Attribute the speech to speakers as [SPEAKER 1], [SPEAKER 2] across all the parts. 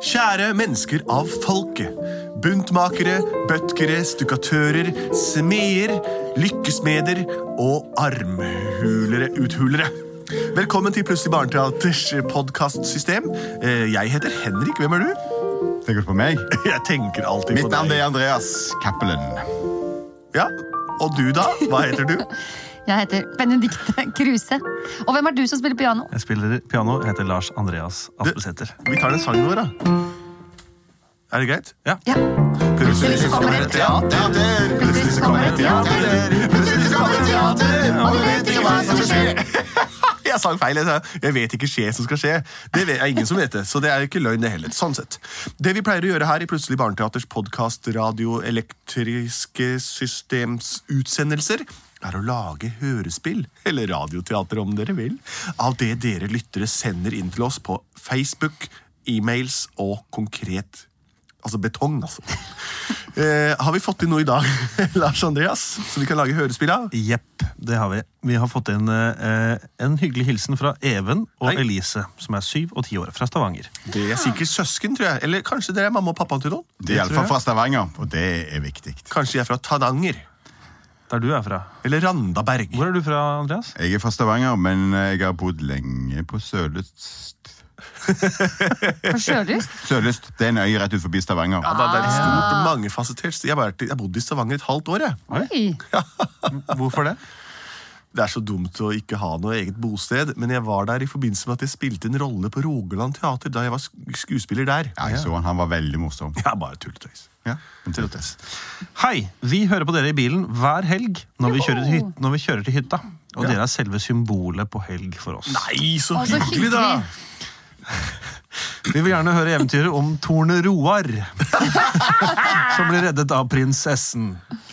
[SPEAKER 1] Kjære mennesker av folket. Buntmakere, bøtkere, stukkatører, smeder, lykkesmeder og armhulere, uthulere. Velkommen til Plutselig barneteaters podcastsystem. Eh, Jeg heter Henrik. Hvem er du?
[SPEAKER 2] Tenker du på meg?
[SPEAKER 1] Jeg tenker alltid
[SPEAKER 2] Mitt
[SPEAKER 1] på
[SPEAKER 2] navn
[SPEAKER 1] deg.
[SPEAKER 2] er Andreas Cappelen.
[SPEAKER 1] Ja, Og du, da? Hva heter du?
[SPEAKER 3] Jeg heter Benedikte Kruse. Og hvem er du som spiller piano?
[SPEAKER 4] Jeg spiller piano, heter Lars Andreas Aspesæter.
[SPEAKER 1] Vi tar den sangen vår, da. Er det greit?
[SPEAKER 3] Ja.
[SPEAKER 1] Plutselig
[SPEAKER 3] så kommer det et
[SPEAKER 2] teater.
[SPEAKER 3] Plutselig så kommer det et teater.
[SPEAKER 2] Plutselig så kommer det et teater.
[SPEAKER 3] Og vi vet ikke hva som vil skje.
[SPEAKER 1] Jeg sang feil. Jeg sa jeg vet ikke skje som skal skje. Det vet- er ingen som vet det, så det er jo ikke løgn, det heller. Sånn sett. Det vi pleier å gjøre her i Plutselig barneteaters podkast radioelektriske systemsutsendelser, er å lage hørespill, eller radioteater om dere vil, av det dere lyttere sender inn til oss på Facebook, e-mails og konkret Altså betong, altså. Eh, har vi fått inn noe i dag, Lars Andreas, som vi kan lage hørespill av?
[SPEAKER 4] Jepp, det har vi. Vi har fått inn eh, en hyggelig hilsen fra Even og
[SPEAKER 1] Hei.
[SPEAKER 4] Elise, som er syv og ti år, fra Stavanger.
[SPEAKER 1] Det er sikkert søsken, tror jeg. Eller kanskje dere er mamma og pappa til noen.
[SPEAKER 2] De
[SPEAKER 1] tror
[SPEAKER 2] er iallfall
[SPEAKER 1] jeg.
[SPEAKER 2] fra Stavanger, og det er viktig.
[SPEAKER 1] Kanskje de er fra Tananger.
[SPEAKER 4] Der du er fra.
[SPEAKER 1] Eller Randaberg.
[SPEAKER 4] Hvor er du fra, Andreas?
[SPEAKER 2] Jeg er fra Stavanger, men jeg har bodd lenge på Sørlyst.
[SPEAKER 3] På Sjølyst?
[SPEAKER 2] Sørlyst det er en øy rett ut forbi Stavanger.
[SPEAKER 1] Ja, det er et stort og mangefasettert sted. Jeg har vært i- jeg har bodd i Stavanger et halvt år. jeg.
[SPEAKER 3] Oi.
[SPEAKER 4] Hvorfor det?
[SPEAKER 1] Det er så dumt å ikke ha noe eget bosted, men jeg var der i forbindelse med at jeg spilte en rolle på Rogaland Teater da jeg var sk- skuespiller der.
[SPEAKER 2] Ja, jeg så han. Han var veldig morsom.
[SPEAKER 1] Ja, bare tulletøys.
[SPEAKER 2] Ja.
[SPEAKER 1] Tulletøys.
[SPEAKER 4] Hei! Vi hører på dere i bilen hver helg når vi kjører til, hyt når vi kjører til hytta. Og dere er selve symbolet på helg for oss.
[SPEAKER 1] Nei, så
[SPEAKER 3] Å, så
[SPEAKER 1] hyggelig, da!
[SPEAKER 3] hyggelig.
[SPEAKER 4] Vi vil gjerne høre eventyret om Torne Roar, som blir reddet av prinsessen.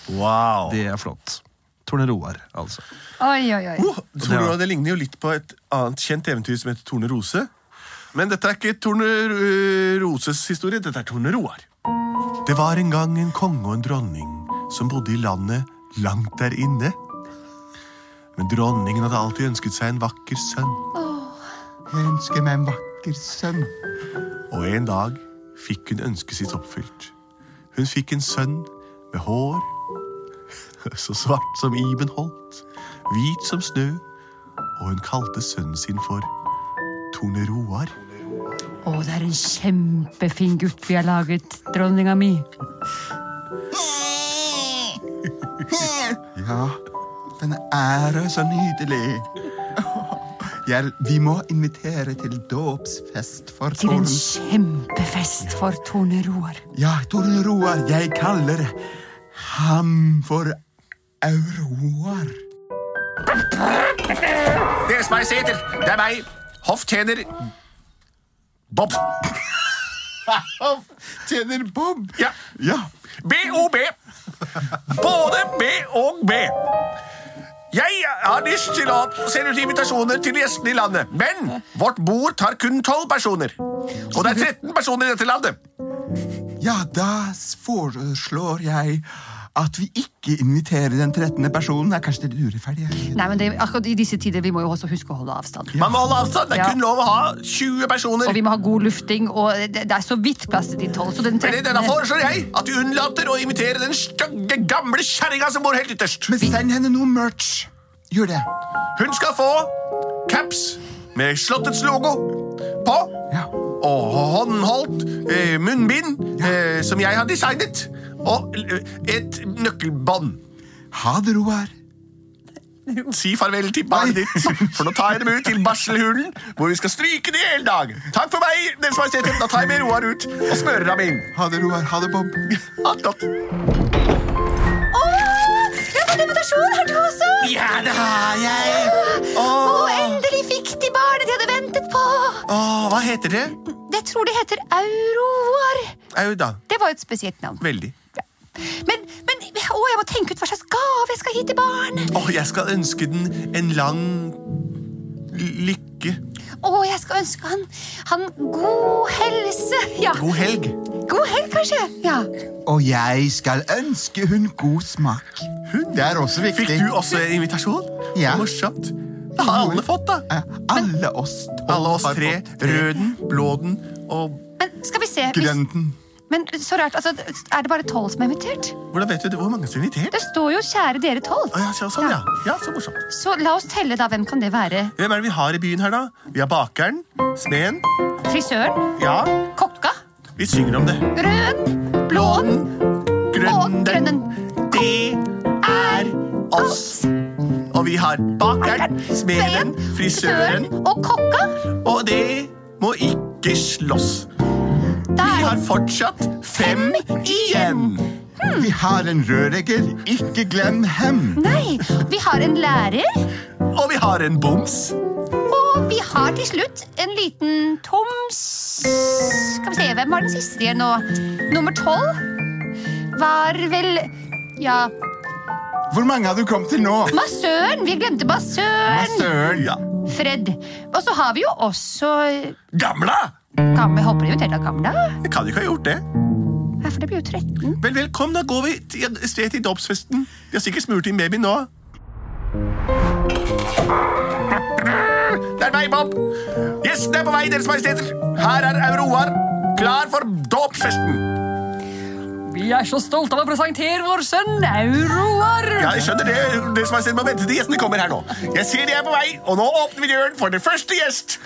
[SPEAKER 1] Wow.
[SPEAKER 4] Det er flott. Torne Roar, altså.
[SPEAKER 3] Oi, oi, oi.
[SPEAKER 1] Oh, Torne Roar, det ligner jo litt på et annet kjent eventyr som heter Torne Rose. Men dette er ikke Torne øh, Roses historie, dette er Torne Roar. Det var en gang en konge og en dronning som bodde i landet langt der inne. Men dronningen hadde alltid ønsket seg en vakker sønn.
[SPEAKER 2] Jeg ønsker meg en vakker sønn.
[SPEAKER 1] Og en dag fikk hun ønsket sitt oppfylt. Hun fikk en sønn med hår så svart som Iben Holt, hvit som snø, og hun kalte sønnen sin for Torne Roar.
[SPEAKER 3] Å, det er en kjempefin gutt vi har laget, dronninga mi.
[SPEAKER 2] Ja, denne er så nydelig. Jeg, vi må invitere til dåpsfest for
[SPEAKER 3] Til
[SPEAKER 2] Torm.
[SPEAKER 3] en kjempefest for Tone Roar.
[SPEAKER 2] Ja, Tore Roar, jeg kaller ham for Auroar.
[SPEAKER 1] Deres Majesteter, det er meg, hofftjener Bob.
[SPEAKER 2] Tjener Bob?
[SPEAKER 1] Ja.
[SPEAKER 2] Ja.
[SPEAKER 1] B.O.B. Både B og B. Jeg har lyst til å sende ut invitasjoner til gjestene i landet, men vårt bord tar kun tolv personer. Og det er 13 personer i dette landet.
[SPEAKER 2] ja, da foreslår jeg at vi ikke inviterer den 13. personen. Det er kanskje litt urettferdig. jeg.
[SPEAKER 3] Nei, men det, akkurat i disse tider vi må jo også huske å holde avstand.
[SPEAKER 1] Man må holde avstand. Det er
[SPEAKER 3] Ja.
[SPEAKER 1] kun lov å ha 20 personer.
[SPEAKER 3] Og vi må ha god lufting, og det, det er så vidt plass til de tolv. Så den
[SPEAKER 1] Men da
[SPEAKER 3] 13.
[SPEAKER 1] foreslår jeg at du unnlater å invitere den stygge, gamle kjerringa som bor helt ytterst.
[SPEAKER 2] Men send henne noe merch. Gjør det.
[SPEAKER 1] Hun skal få caps med Slottets logo på.
[SPEAKER 2] Ja.
[SPEAKER 1] Og håndholdt eh, munnbind eh, som jeg har designet. Og eh, et nøkkelbånd.
[SPEAKER 2] Ha det, Roar.
[SPEAKER 1] Si farvel til barnet ditt, for nå tar jeg dem ut til barselhulen, hvor vi skal stryke det i hele dag. Takk for meg, Deres Majesteter. Da tar jeg med Roar ut og smører ham inn.
[SPEAKER 2] Ha det, Roar. Ha det, Bob.
[SPEAKER 1] Ha det godt.
[SPEAKER 3] Å, jeg har fått invitasjon! Har du også?
[SPEAKER 2] Ja, det har jeg.
[SPEAKER 3] Og endelig fikk de barnet de hadde ventet på!
[SPEAKER 1] Åh, hva heter det?
[SPEAKER 3] Jeg tror det heter Auroar.
[SPEAKER 1] Au da.
[SPEAKER 3] Det var jo et spesielt navn.
[SPEAKER 1] Veldig.
[SPEAKER 3] Men, men å, jeg må tenke ut hva slags gave jeg skal gi til barn.
[SPEAKER 1] Åh, jeg skal ønske den en lang lykke.
[SPEAKER 3] Å, jeg skal ønske han, han god helse. Ja,
[SPEAKER 1] God helg.
[SPEAKER 3] god helg, kanskje. Ja.
[SPEAKER 2] Og jeg skal ønske hun god smak. Det er også viktig.
[SPEAKER 1] Fikk du også en invitasjon?
[SPEAKER 2] Ja.
[SPEAKER 1] Morsomt. Det har alle fått, da.
[SPEAKER 2] Eh, Alle oss tolv
[SPEAKER 1] Alle oss
[SPEAKER 2] har
[SPEAKER 1] tre.
[SPEAKER 2] fått
[SPEAKER 1] Røden, blåden og
[SPEAKER 3] Men skal vi se hvis,
[SPEAKER 5] Studenten.
[SPEAKER 3] Men så rart, altså, er det bare tolv som er invitert?
[SPEAKER 1] Hvordan vet du det? Hvor mange som er invitert?
[SPEAKER 3] Det står jo 'kjære dere tolv'.
[SPEAKER 1] Å, ja, så- sånn, ja. ja, så morsomt.
[SPEAKER 3] Så la oss telle, da. Hvem kan det være?
[SPEAKER 1] Hvem er det vi har i byen her, da? Vi har bakeren, smeden,
[SPEAKER 3] Frisøren?
[SPEAKER 1] ja.
[SPEAKER 3] Kokka?
[SPEAKER 1] Vi synger om det.
[SPEAKER 3] Rød? Blåen?
[SPEAKER 1] Grønnen.
[SPEAKER 3] Og grønnen.
[SPEAKER 1] Det er oss. Og vi har bakeren, smeden, frisøren,
[SPEAKER 3] og kokka?
[SPEAKER 1] og det må ikke slåss.
[SPEAKER 3] Da
[SPEAKER 1] Vi
[SPEAKER 3] er
[SPEAKER 1] har fortsatt fem igjen.
[SPEAKER 5] Hmm. Vi har en rørlegger. Ikke glem hem.
[SPEAKER 3] Nei, vi har en lærer,
[SPEAKER 1] Og vi har en boms.
[SPEAKER 3] og vi har til slutt en liten tom s- Skal vi se, hvem var den siste igjen nå? Nummer tolv var vel Ja,
[SPEAKER 5] Hvor mange har du kommet til nå?
[SPEAKER 3] massøren! Vi glemte massøren!
[SPEAKER 5] Søren.
[SPEAKER 1] Ja.
[SPEAKER 3] Fred. Og så har vi jo også
[SPEAKER 1] Gamla!
[SPEAKER 3] Gamle, Håper det er invitert av Gamla?
[SPEAKER 1] Jeg kan ikke ha gjort det.
[SPEAKER 3] Ja, for det blir jo 13.
[SPEAKER 1] Vel, vel, kom, da går vi til- et sted til dåpsfesten. De har sikkert smurt inn babyen nå. Det er vei, Bob. Gjestene er på vei, Deres Majesteter. Her er Auroar, klar for dåpsfesten.
[SPEAKER 6] Vi er så stolte av å presentere vår sønn Auroar.
[SPEAKER 1] Ja, jeg skjønner det. Deres Majesteter må vente til gjestene kommer her nå. Jeg ser de er på vei, og nå åpner vi døren for den første gjest.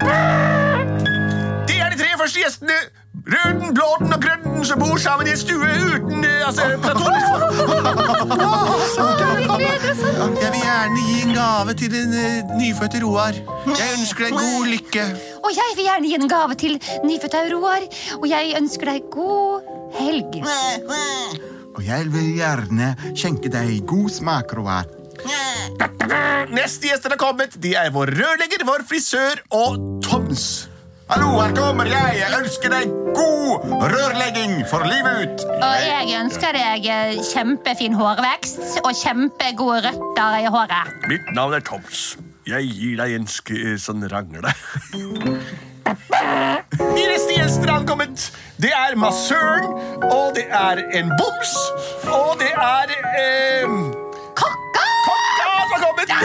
[SPEAKER 1] Det er de tre første gjestene. Røden, blåden og grønnen som bor sammen i en stue uten eh, altså, platonisk forhold.
[SPEAKER 3] sånn.
[SPEAKER 1] Jeg vil gjerne gi en gave til den eh, nyfødte Roar. Jeg ønsker deg god lykke.
[SPEAKER 3] Og jeg vil gjerne gi en gave til nyfødt Auroar, og jeg ønsker deg god helg.
[SPEAKER 5] Og jeg vil gjerne skjenke deg god smak, Roar.
[SPEAKER 1] Neste gjester har kommet. De er vår rørlegger, vår frisør og Toms.
[SPEAKER 5] Hallo, her kommer jeg. Jeg ønsker deg god rørlegging for livet ut.
[SPEAKER 3] Og jeg ønsker deg eh, kjempefin hårvekst og kjempegode røtter i håret.
[SPEAKER 1] Mitt navn er Toms. Jeg gir deg en sk sånn rangle. De neste gjester har kommet. Det er massøren, og det er en boms, og det er eh,
[SPEAKER 3] Kokka!
[SPEAKER 1] Ja, som har kommet!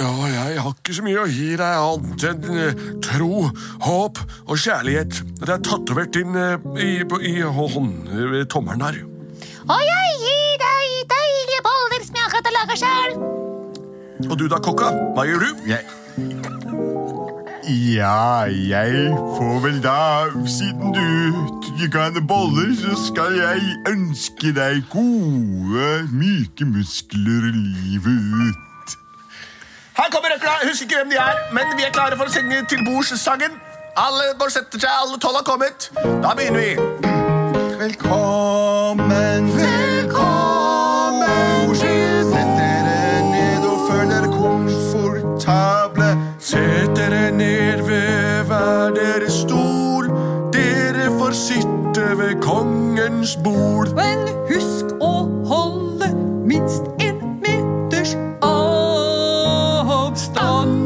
[SPEAKER 4] Ja, jeg har ikke så mye å gi deg annet enn eh, tro, håp og kjærlighet. Det er tatovert inn eh, i, på- i hånd, eh, tommelen her.
[SPEAKER 3] Og jeg gir deg deilige boller som jeg akkurat har laget selv.
[SPEAKER 1] Og du da, kokka? Hva gjør du?
[SPEAKER 5] Jeg... Ja, jeg får vel da Siden du ikke har boller, så skal jeg ønske deg gode, myke muskler livet ut.
[SPEAKER 1] Her kommer røkla. Jeg husker ikke hvem de er, men vi er klare for å synge tilbordssangen. Alle går og setter seg, alle tolv har kommet. Da begynner vi.
[SPEAKER 5] Velkommen, velkommen til Sett dere ned og føl dere komfortable
[SPEAKER 4] Sett dere ned ved hver deres stol. Dere får sitte ved kongens bord.
[SPEAKER 6] Men husk å holde minst en meters avstand.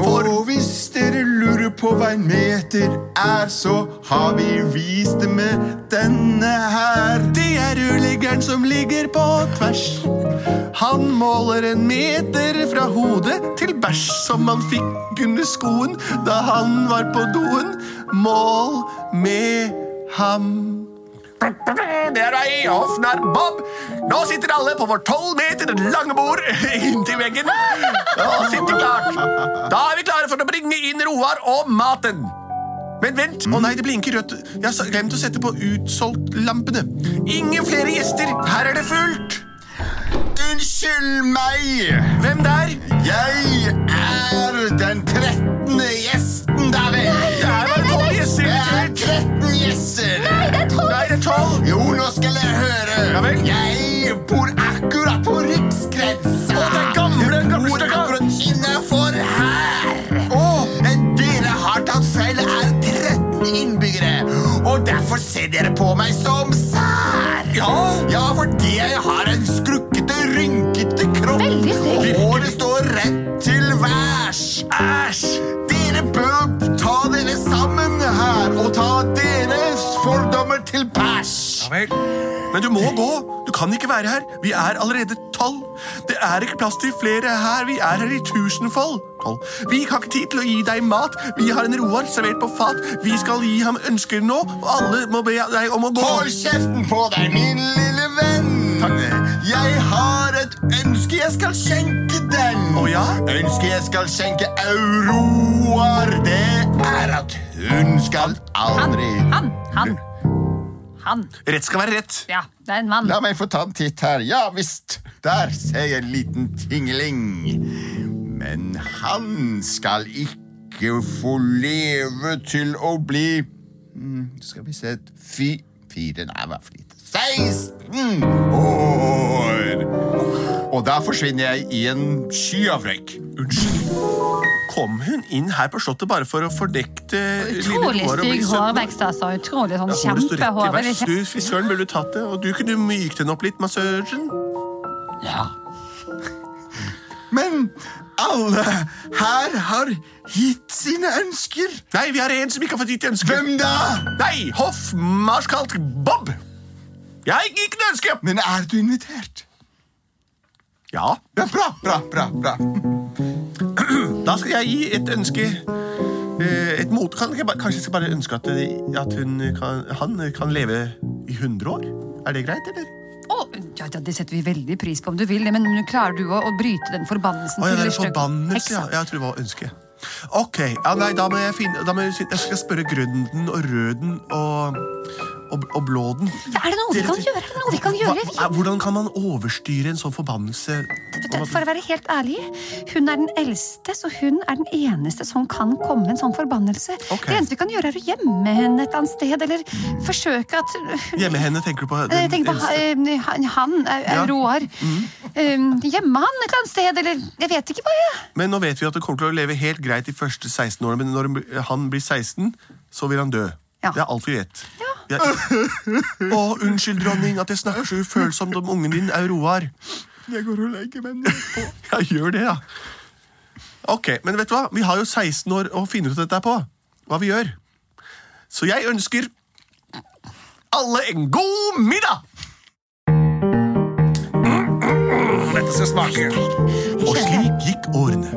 [SPEAKER 5] For hvis dere lurer på hva en meter er Så har vi vist det med denne her
[SPEAKER 1] Det er rørleggeren som ligger på tvers. Han måler en meter fra hodet til bæsj som han fikk under skoen da han var på doen. Mål med ham. Det er deg, Hofnar Bob. Nå sitter alle på vårt tolv meter lange bord inntil veggen. Og sitter klart. Da er vi klare for å bringe inn Roar og maten. Men vent, å nei, det blinker rødt. Jeg har sa- glemt å sette på utsolgt-lampene. Ingen flere gjester. Her er det fullt.
[SPEAKER 5] Unnskyld meg
[SPEAKER 1] Hvem der?
[SPEAKER 5] Jeg er den trettende gjesten, da vel
[SPEAKER 1] Det er bare tolv gjester
[SPEAKER 5] Det er
[SPEAKER 1] invitert.
[SPEAKER 5] tretten gjester
[SPEAKER 3] Nei, det er tolv!
[SPEAKER 1] Nei, det er tolv.
[SPEAKER 5] Jo, nå skal jeg høre.
[SPEAKER 1] Ja vel?
[SPEAKER 5] Jeg bor akkurat på riksgrensa.
[SPEAKER 1] Å, det er gamle
[SPEAKER 5] Jeg bor
[SPEAKER 1] gammelstøkka.
[SPEAKER 5] akkurat innafor her. Men Dere har tatt feil. Det er 13 innbyggere. Og derfor ser dere på meg som sær. Ja, fordi jeg har en skrukkete, rynkete kropp.
[SPEAKER 3] Veldig stygg.
[SPEAKER 5] Og håret står rett til værs. Æsj! Dere bør ta dere sammen her og ta deres fordommer til pers.
[SPEAKER 1] Men du må gå. Du
[SPEAKER 7] kan ikke være her. Vi er allerede tolv. Det er ikke plass til flere her. Vi er her i tusenfold. Tolv. Vi har ikke tid til å gi deg mat. Vi har en Roar servert på fat. Vi skal gi ham ønsker nå, og alle må be deg om å gå.
[SPEAKER 2] Hold kjeften på deg, min lille venn. Jeg har et ønske jeg skal skjenke den.
[SPEAKER 7] Å ja?
[SPEAKER 2] Ønsket jeg skal skjenke Auroar, det er at hun skal aldri
[SPEAKER 3] Han, han. Han.
[SPEAKER 7] Rett skal være rett.
[SPEAKER 3] Ja, det er en mann.
[SPEAKER 2] La meg få ta en titt her. Ja visst, der ser jeg en liten tingling. Men han skal ikke få leve til å bli mm, Skal vi se fi, Fire, nei, hva for lite 16 år! Og da forsvinner jeg i en sky av røyk.
[SPEAKER 7] Unnskyld. Kom hun inn her på slottet bare for å fordekte eh,
[SPEAKER 3] Utrolig
[SPEAKER 7] Roar og bli
[SPEAKER 3] stygg
[SPEAKER 7] søt?
[SPEAKER 3] hårvekst, altså. Utrolig sånn
[SPEAKER 7] Ja, Ole står rett i
[SPEAKER 3] kjempehår.
[SPEAKER 7] vers.
[SPEAKER 3] Veldig kjempe-
[SPEAKER 7] Du, Frisøren burde tatt det, og du kunne mykt henne opp litt, massøren.
[SPEAKER 2] Men alle her har gitt sine ønsker.
[SPEAKER 7] Nei, vi har en som ikke har fått gitt ønske.
[SPEAKER 2] Hvem da?
[SPEAKER 7] Nei, hoffmarskalk Bob. Jeg har ikke gitt noe ønske.
[SPEAKER 2] Men er du invitert?
[SPEAKER 7] Ja,
[SPEAKER 2] Ja, bra, bra, bra, bra.
[SPEAKER 7] da skal jeg gi et ønske. Eh, Et mot, kan jeg, bare- kanskje jeg skal bare ønske at, eh, at hun kan, han kan leve i 100 år? Er det greit, eller?
[SPEAKER 6] Å, ja, ja, det setter vi veldig pris på om du vil det, men klarer du å, å bryte den forbannelsen
[SPEAKER 7] Å, ja, det
[SPEAKER 6] til
[SPEAKER 7] er
[SPEAKER 6] Lystløkken?
[SPEAKER 7] forbannelse, ja.
[SPEAKER 6] Heksa.
[SPEAKER 7] Jeg tror det var ønske. Ok, ja, nei, da må jeg finne da må jeg, jeg skal spørre Grønden og Røden og, og, og Blåden.
[SPEAKER 3] Ja, er det noe vi kan gjøre? Er det noe vi kan gjøre?
[SPEAKER 7] Hva, hvordan kan man overstyre en sånn forbannelse?
[SPEAKER 3] Vi- For å være helt ærlig, hun er den eldste, så hun er den eneste som kan komme med en sånn forbannelse.
[SPEAKER 7] Ok.
[SPEAKER 3] Det eneste vi kan gjøre, er å gjemme henne et eller annet sted, eller forsøke at
[SPEAKER 7] Hjemme henne, tenker du på?
[SPEAKER 3] Eh,
[SPEAKER 7] Den
[SPEAKER 3] Tenk på
[SPEAKER 7] eldste?
[SPEAKER 3] eh, han, han eh,
[SPEAKER 7] Ja.
[SPEAKER 3] Roar.
[SPEAKER 2] Mm.
[SPEAKER 3] Eh, Gjemme han et eller annet sted, eller jeg vet ikke hva. jeg...
[SPEAKER 7] Men nå vet vi at det kommer til å leve helt greit de første 16 årene, men når hun blir- han blir 16, så vil han dø.
[SPEAKER 3] Ja.
[SPEAKER 7] Det er alt vi vet. Vi er- Å, unnskyld, dronning, at jeg snakker så ufølsomt om ungen din, Auroar.
[SPEAKER 2] Jeg går og legger meg nedpå.
[SPEAKER 7] Ja, gjør det, da. Ok, men vet du hva? Vi har jo 16 år å finne ut dette her på. Hva vi gjør. Så jeg ønsker alle en god middag!
[SPEAKER 1] Dette skal smake.
[SPEAKER 7] Og slik gikk årene.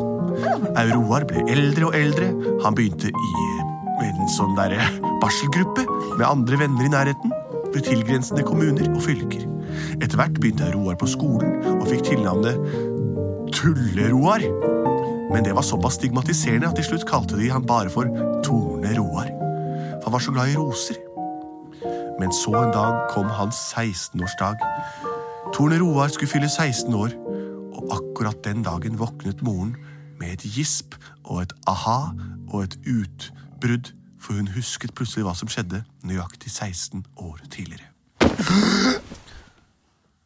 [SPEAKER 7] Auroar ble eldre og eldre. Han begynte i en sånn derre barselgruppe med andre venner i nærheten. Ved tilgrensende kommuner og fylker. Etter hvert begynte Auroar på skolen og fikk tilnavnet Tulle-Roar. Men det var såpass stigmatiserende at til slutt kalte de ham bare for Torne-Roar. For han var så glad i roser. Men så en dag kom hans 16-årsdag. Torne Roar skulle fylle 16 år, og akkurat den dagen våknet moren med et gisp og et aha og et utbrudd, for hun husket plutselig hva som skjedde nøyaktig 16 år tidligere.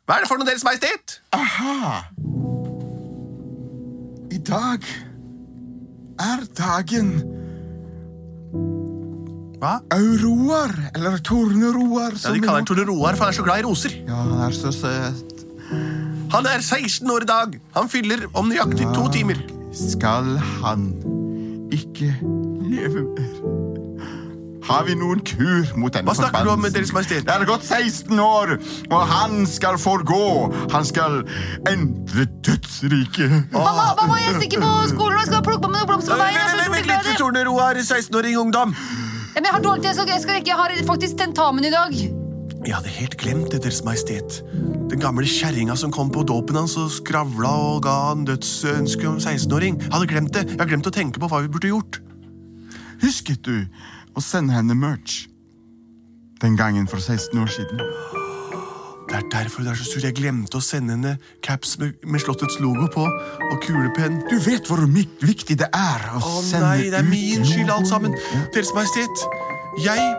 [SPEAKER 7] Hva er det for noe Deres Majestet?
[SPEAKER 2] I dag er dagen
[SPEAKER 7] Hva?
[SPEAKER 2] Auroar, eller Torneroar,
[SPEAKER 7] Ja,
[SPEAKER 2] som
[SPEAKER 7] De kaller han Torne Roar, for han er så glad i roser.
[SPEAKER 2] Ja, han er så søt.
[SPEAKER 7] Han er 16 år i dag. Han fyller om nøyaktig to timer.
[SPEAKER 2] Skal han ikke leve mer? Har vi noen kur mot denne
[SPEAKER 7] Hva snakker du om,
[SPEAKER 2] forbannelsen?
[SPEAKER 7] Deres Majestet?
[SPEAKER 2] Det er gått 16 år, og han skal forgå. Han skal endre dødsriket.
[SPEAKER 7] Ah.
[SPEAKER 3] Mamma, mamma, jeg stikker på skolen og jeg skal plukke på meg noen blomster på veien. Jeg er så
[SPEAKER 7] Vent
[SPEAKER 3] utrolig
[SPEAKER 7] vent
[SPEAKER 3] glad
[SPEAKER 7] litt,
[SPEAKER 3] i det.
[SPEAKER 7] Torne Roar, 16-åring ungdom.
[SPEAKER 3] Ja, men Jeg har dårlig tid, jeg skal- jeg skal rekke. Jeg har faktisk tentamen i dag.
[SPEAKER 7] Jeg hadde helt glemt det, Deres Majestet. Den gamle kjerringa som kom på dåpen hans og skravla og ga han dødsønske om 16-åring. Jeg hadde glemt det. Jeg har glemt å tenke på hva vi burde gjort.
[SPEAKER 2] Husket du å sende henne merch? Den gangen for 16 år siden.
[SPEAKER 7] Det er derfor det er så sur. Jeg glemte å sende henne caps med, med Slottets logo på og kulepenn.
[SPEAKER 2] Du vet hvor mi- viktig det er å
[SPEAKER 7] Å
[SPEAKER 2] sende
[SPEAKER 7] nei, det er
[SPEAKER 2] ut
[SPEAKER 7] min skyld alt sammen.
[SPEAKER 2] logoen.
[SPEAKER 7] Deres Majestet, jeg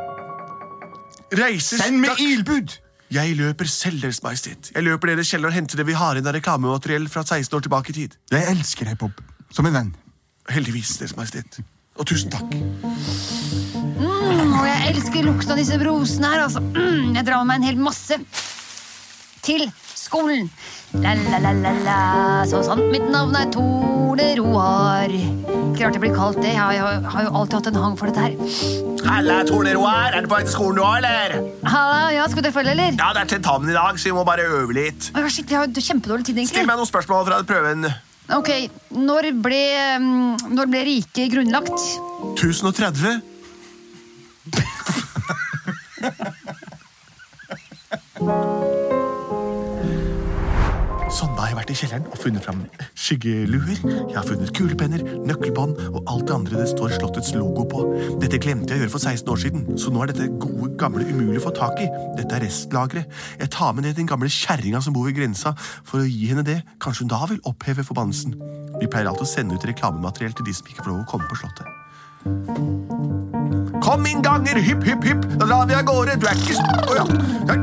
[SPEAKER 7] reiser
[SPEAKER 2] Send med
[SPEAKER 7] straks-
[SPEAKER 2] ilbud!
[SPEAKER 7] Jeg løper selv, Deres Majestet. Jeg løper ned i kjelleren og henter det vi har inn av reklamemateriell fra 16 år tilbake i tid.
[SPEAKER 2] Jeg elsker deg, Bob. Som en venn.
[SPEAKER 7] Heldigvis, Deres Majestet. Og tusen takk.
[SPEAKER 3] Mm, og jeg elsker lukten av disse rosene her, altså. Mm, jeg drar med meg en hel masse til skolen. La, la, la, la, la. Så sant mitt Sånn, navn er Torn Ole Roar. Klart det blir kaldt, det. Jeg har, har jo alltid hatt en hang for dette her.
[SPEAKER 2] Halla, Tone Roar. Er du på vei til skolen nå, eller?
[SPEAKER 3] Halla, ja, skal du følge, eller?
[SPEAKER 2] Ja, det er tentamen i dag, så vi må bare øve litt.
[SPEAKER 3] Å, Shit, jeg har jo kjempedårlig tid,
[SPEAKER 2] Still
[SPEAKER 3] egentlig.
[SPEAKER 2] meg noen spørsmål fra prøven.
[SPEAKER 3] Ok, når ble, mm, når ble riket grunnlagt?
[SPEAKER 7] 1030? Sånn da har jeg vært i kjelleren og funnet fram skyggeluer. Jeg har funnet kulepenner, nøkkelbånd og alt det andre det står Slottets logo på. Dette glemte jeg å gjøre for 16 år siden, så nå er dette gode, gamle umulig å få tak i. Dette er restlageret. Jeg tar med det til den gamle kjerringa som bor ved grensa, for å gi henne det. Kanskje hun da vil oppheve forbannelsen. Vi pleier alltid å sende ut reklamemateriell til de som ikke får lov å komme på Slottet. Kom inn ganger, hypp, hypp, hypp, da drar vi av gårde. Du er ikke s- Å ja. Nei.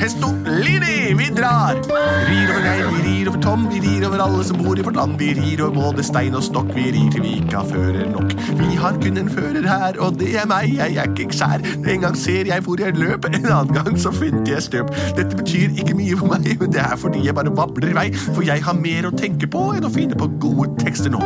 [SPEAKER 7] Hesto Lini, vi drar! Vi rir over rein, vi rir over Tom, vi rir over alle som bor i vårt land. Vi rir over både stein og stokk, vi rir til vi ikke har fører nok. Vi har kun en fører her, og det er meg, jeg er ikke skjær. En gang ser jeg hvor jeg løp, en annen gang så fant jeg støp. Dette betyr ikke mye for meg, men det er fordi jeg bare babler i vei, for jeg har mer å tenke på enn å finne på gode tekster nå.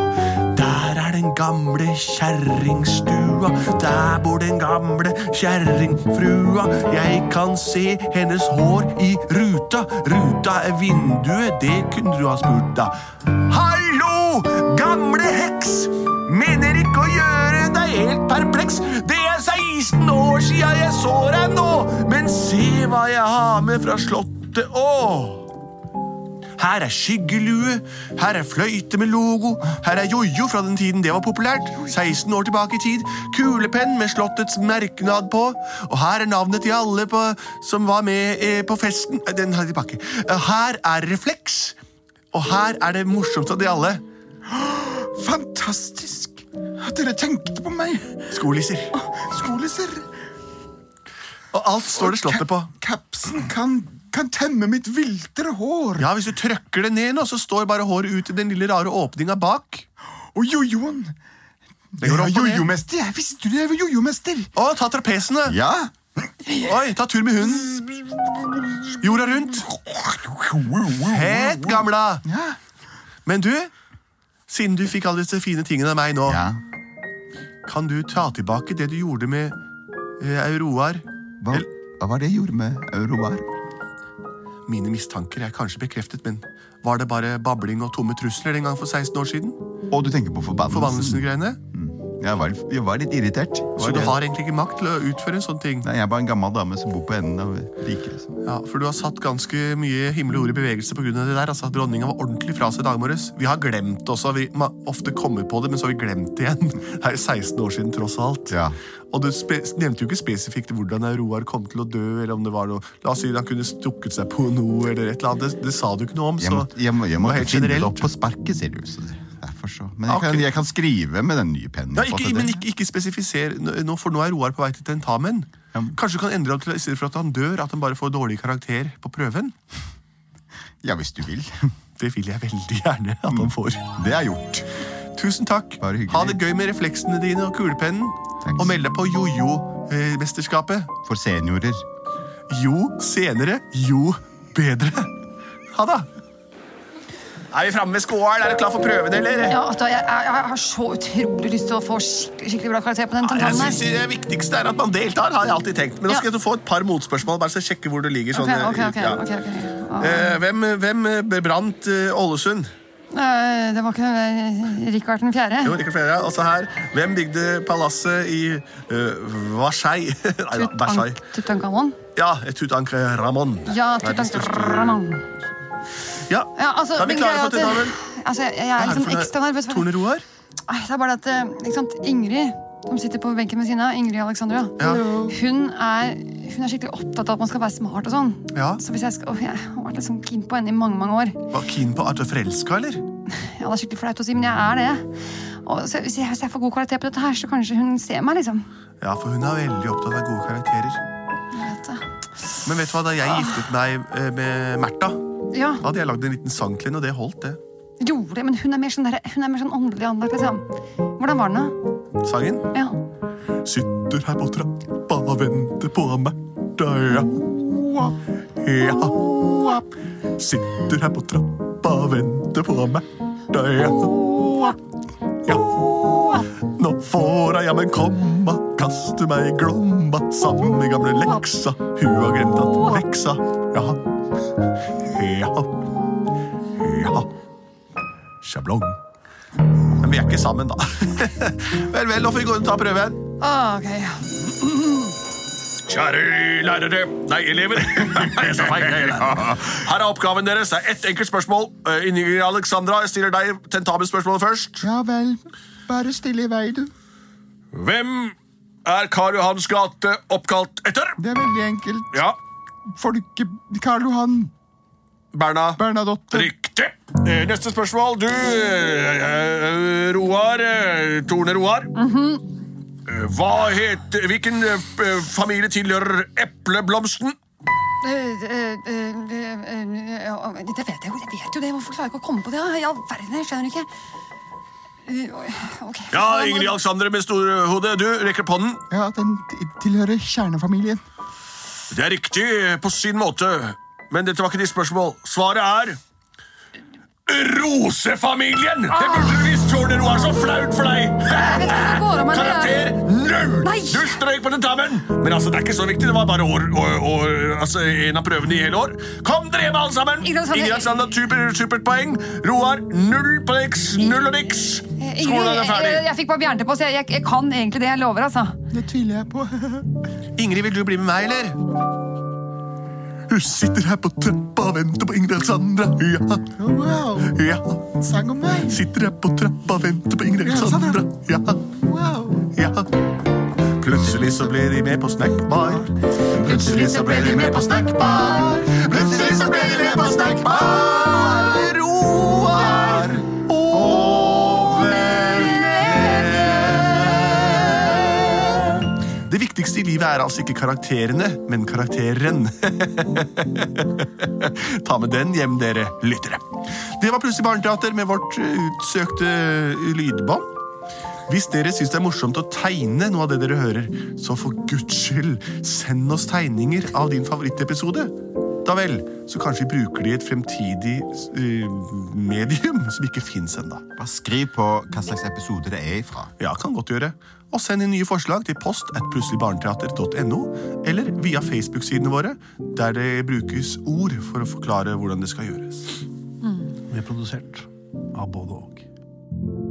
[SPEAKER 7] Der er den gamle kjerringstua. Der bor den gamle kjerringfrua. Jeg kan se hennes hår i ruta. Ruta er vinduet, det kunne du ha spurt, da. Hallo, gamle heks! Mener ikke å gjøre deg helt perpleks. Det er 16 år sia jeg så deg nå, men se hva jeg har med fra slottet. Åh! Her er skyggelue, her er fløyte med logo, her er jojo fra den tiden det var populært, 16 år tilbake i tid, kulepenn med slottets merknad på, og her er navnet til alle på, som var med eh, på festen, Eh, den har jeg tilbake. Eh, Her er refleks, og her er det morsomste av de alle,
[SPEAKER 2] Fantastisk at dere tenkte på meg.
[SPEAKER 7] skolisser.
[SPEAKER 2] Skoleser,
[SPEAKER 7] Og alt står det slottet på.
[SPEAKER 2] kapsen kan, kan temme mitt viltre hår.
[SPEAKER 7] Ja, hvis du trøkker det ned nå, så står bare håret ut i den lille rare åpninga bak.
[SPEAKER 2] Og jojoen.
[SPEAKER 7] Det går opp og ned.
[SPEAKER 2] Jojo-mester. Jeg visste du jeg var jojo-mester.
[SPEAKER 7] Å, ta trapesene!
[SPEAKER 2] Ja.
[SPEAKER 7] Oi, ta tur med hunden. Jorda rundt. Helt gamla.
[SPEAKER 2] Ja.
[SPEAKER 7] Men du, siden du fikk alle disse fine tingene av meg nå,
[SPEAKER 2] ja.
[SPEAKER 7] kan du ta tilbake det du gjorde med eh, Auroar?
[SPEAKER 2] Hva, hva var det jeg gjorde med Eurobar?
[SPEAKER 7] Mine mistanker er kanskje bekreftet, men var det bare babling og tomme trusler den gang for 16 år siden?
[SPEAKER 2] Og du tenker på forbannelsen?
[SPEAKER 7] Forbannelsen-greiene?
[SPEAKER 2] Jeg var, jeg var litt irritert.
[SPEAKER 7] Så du har egentlig ikke makt til å utføre en sånn ting?
[SPEAKER 2] Nei, jeg er bare en gammel dame som bor på enden av riket. liksom.
[SPEAKER 7] Ja, For du har satt ganske mye himmel og jord i bevegelse pga. det der. altså Dronninga var ordentlig fra seg i dag morges. Vi har glemt det også. Vi ma- ofte kommer på det, men så har vi glemt det igjen. Det er 16 år siden, tross alt.
[SPEAKER 2] Ja.
[SPEAKER 7] Og du spe nevnte jo ikke spesifikt hvordan Roar kom til å dø, eller om det var noe La oss si han kunne stukket seg på noe, eller et eller annet. Det, det sa du ikke noe om,
[SPEAKER 2] Jeg,
[SPEAKER 7] så
[SPEAKER 2] må, jeg, må, jeg
[SPEAKER 7] det var
[SPEAKER 2] måtte
[SPEAKER 7] helt
[SPEAKER 2] finne det
[SPEAKER 7] generelt. Ah,
[SPEAKER 2] opp på sparket, ser du. Så det- derfor så. Men jeg
[SPEAKER 7] Ok.
[SPEAKER 2] kan, jeg kan skrive med den nye pennen.
[SPEAKER 7] Ja,
[SPEAKER 2] jeg har fått
[SPEAKER 7] ikke,
[SPEAKER 2] av
[SPEAKER 7] men
[SPEAKER 2] dere.
[SPEAKER 7] ikke, ikke spesifiser nå- nå, for nå er Roar på vei til tentamen.
[SPEAKER 2] Ja, men-
[SPEAKER 7] Kanskje du kan endre ham til i stedet for at han dør, at han bare får dårlig karakter på prøven?
[SPEAKER 2] Ja, hvis du vil.
[SPEAKER 7] Det vil jeg veldig gjerne at han får.
[SPEAKER 2] Det er gjort.
[SPEAKER 7] Tusen takk.
[SPEAKER 2] Bare hyggelig.
[SPEAKER 7] Ha det gøy med refleksene dine og kulepennen.
[SPEAKER 2] Thanks.
[SPEAKER 7] Og meld deg på jojo-mesterskapet.
[SPEAKER 2] For seniorer.
[SPEAKER 7] Jo senere, jo bedre. Ha det.
[SPEAKER 2] Er vi framme ved skolen? Er du klar for prøven, eller?
[SPEAKER 3] Ja, altså, jeg, jeg, jeg har så utrolig lyst til å få skikkelig, skikkelig bra karakter
[SPEAKER 1] Ah,
[SPEAKER 3] på den
[SPEAKER 7] Jeg
[SPEAKER 3] tentamen
[SPEAKER 7] synes
[SPEAKER 3] her.
[SPEAKER 7] Det viktigste er at man deltar, har jeg alltid tenkt. Men nå
[SPEAKER 3] Ja.
[SPEAKER 7] skal jeg få et par motspørsmål. bare så jeg sjekker hvor du ligger.
[SPEAKER 3] Ok,
[SPEAKER 7] Sånn, eh,
[SPEAKER 3] ok, ok,
[SPEAKER 7] ja.
[SPEAKER 3] ok, ok. Ah.
[SPEAKER 7] Eh, hvem, hvem bebrant eh, Ålesund?
[SPEAKER 3] Eh, Det var ikke eh, Rikard den fjerde?
[SPEAKER 7] Jo, Rikard Flere. Altså her. Hvem bygde palasset i eh, Versailles? Nei da, Versailles.
[SPEAKER 3] Tutank- Tutankhamon?
[SPEAKER 7] Ja, Tutankhamon.
[SPEAKER 3] Ja,
[SPEAKER 7] Verdens største-
[SPEAKER 3] Tutankhamon.
[SPEAKER 7] Ja.
[SPEAKER 3] Ja, altså,
[SPEAKER 7] da er vi
[SPEAKER 3] men
[SPEAKER 7] klare
[SPEAKER 3] greia
[SPEAKER 7] for
[SPEAKER 3] er at, eh,
[SPEAKER 7] tentamen.
[SPEAKER 3] Altså, jeg, jeg er liksom ekstra nervøs. For
[SPEAKER 7] Torne
[SPEAKER 3] det.
[SPEAKER 7] Roar?
[SPEAKER 3] Ai, det er bare det at eh, ikke sant, Ingrid, som sitter på benken ved siden av, Ingrid Alexandra,
[SPEAKER 7] Ja.
[SPEAKER 3] hun, er, hun er skikkelig opptatt av at man skal være smart og sånn.
[SPEAKER 7] Ja.
[SPEAKER 3] Så hvis jeg skal, åh, jeg har vært liksom keen på henne i mange, mange år.
[SPEAKER 7] Var keen på at du er forelska, eller?
[SPEAKER 3] Ja, det er skikkelig flaut å si, men jeg er det. Og så, hvis, jeg, hvis jeg får god kvalitet på dette her, så kanskje hun ser meg, liksom.
[SPEAKER 7] Ja, for hun er veldig opptatt av gode karakterer.
[SPEAKER 3] Vet du.
[SPEAKER 7] Men vet du hva, da jeg giftet meg eh, med Märtha,
[SPEAKER 3] Ja,
[SPEAKER 7] da hadde jeg lagd en liten sang til henne, og det holdt, det.
[SPEAKER 3] gjorde det, men hun er mer sånn, der, hun er mer sånn åndelig anlagt, liksom. Hvordan var den da?
[SPEAKER 7] Sangen.
[SPEAKER 3] Ja.
[SPEAKER 7] Sitter her på trappa og venter på Märtha, ja. Ja. Sitter her på trappa og venter på Märtha, ja. Åa. Ja. Nå får jeg jammen komma, kaste meg i glomma. Samme gamle leksa, hun har glemt at leksa Jaha. Ja. Ja. Sjablong. Men vi er ikke sammen, da. vel, vel, nå får vi gå og ta prøven.
[SPEAKER 3] Ah,
[SPEAKER 8] Ok.
[SPEAKER 1] Kjære lærere, nei, elever. Jeg sa feil, jeg er lærer. Her er oppgaven deres. Det er ett enkelt spørsmål. Eh, Inger Alexandra, jeg stiller deg tentamenspørsmålet først.
[SPEAKER 2] Ja vel. Bare stille i vei, du.
[SPEAKER 1] Hvem er Karl Johans gate oppkalt etter?
[SPEAKER 2] Det er veldig enkelt.
[SPEAKER 1] Ja,
[SPEAKER 2] Folke... Karl Johan
[SPEAKER 1] Berna.
[SPEAKER 2] Bernadotte.
[SPEAKER 1] Riktig. Eh, Neste spørsmål. Du, eh, eh, Roar eh, Torne Roar. Eh, Hva heter Hvilken eh, eh, familie tilhører epleblomsten?
[SPEAKER 8] Eh, eh, eh, eh, eh, ja, men Det vet jeg jo, jeg vet jo det. Hvorfor klarer jeg ikke å komme på det? da? I all verden, jeg skjønner ikke. Eh, ok.
[SPEAKER 1] Ja, Ingrid Alexandre med storhode. Du rekker opp hånden.
[SPEAKER 2] Ja, den t- tilhører kjernefamilien.
[SPEAKER 1] Det er riktig eh, på sin måte, men dette var ikke ditt spørsmål. Svaret er Rosefamilien! Det burde du visst, Torne Roar. Så flaut for deg.
[SPEAKER 8] Jeg vet ikke hva det går av meg når jeg er-
[SPEAKER 1] Karakter null!
[SPEAKER 8] Nei.
[SPEAKER 1] Du strøk på tentamen! Men altså, det er ikke så viktig. Det var bare år, år, år, altså, en av prøvene i hele år. Kom dere hjem, alle sammen!
[SPEAKER 8] Ingrid Alexander-
[SPEAKER 1] Ingrid Alexander, super, supert poeng. Roar, null på niks. Null og niks.
[SPEAKER 8] Eh,
[SPEAKER 1] Skolen
[SPEAKER 8] Ingrid,
[SPEAKER 1] er ferdig.
[SPEAKER 8] jeg, jeg fikk bare bjernte på, så jeg, jeg, jeg kan egentlig det jeg lover, altså.
[SPEAKER 2] Det tviler jeg på.
[SPEAKER 7] Ingrid, vil du bli med meg, eller? Hun sitter her på trappa og venter på Ingrid Alexandra. Ja,
[SPEAKER 2] Wow.
[SPEAKER 7] ja.
[SPEAKER 2] Sang om meg.
[SPEAKER 7] Sitter her på trappa og venter på Ingrid Alexandra. Ja,
[SPEAKER 2] Wow.
[SPEAKER 7] ja. Plutselig så ble de med på snackbar. Plutselig så ble de med på snackbar. Plutselig så ble de med på snackbar. Roar overlever. Det viktigste i livet er altså ikke karakterene, men karakteren. Ta med den hjem, dere lyttere. Det var Plutselig barneteater med vårt eh, utsøkte eh, lydbånd. Hvis dere syns det er morsomt å tegne noe av det dere hører, så for guds skyld, send oss tegninger av din favorittepisode. Da vel, så kanskje vi bruker det i et fremtidig eh, medium som ikke fins ennå.
[SPEAKER 9] Bare skriv på hva slags episode det er ifra.
[SPEAKER 7] Ja, kan godt gjøre. Og send inn nye forslag til post at plutseligbarneteater.no, eller via Facebook-sidene våre, der det brukes ord for å forklare hvordan det skal gjøres.
[SPEAKER 4] Vi er produsert av både og.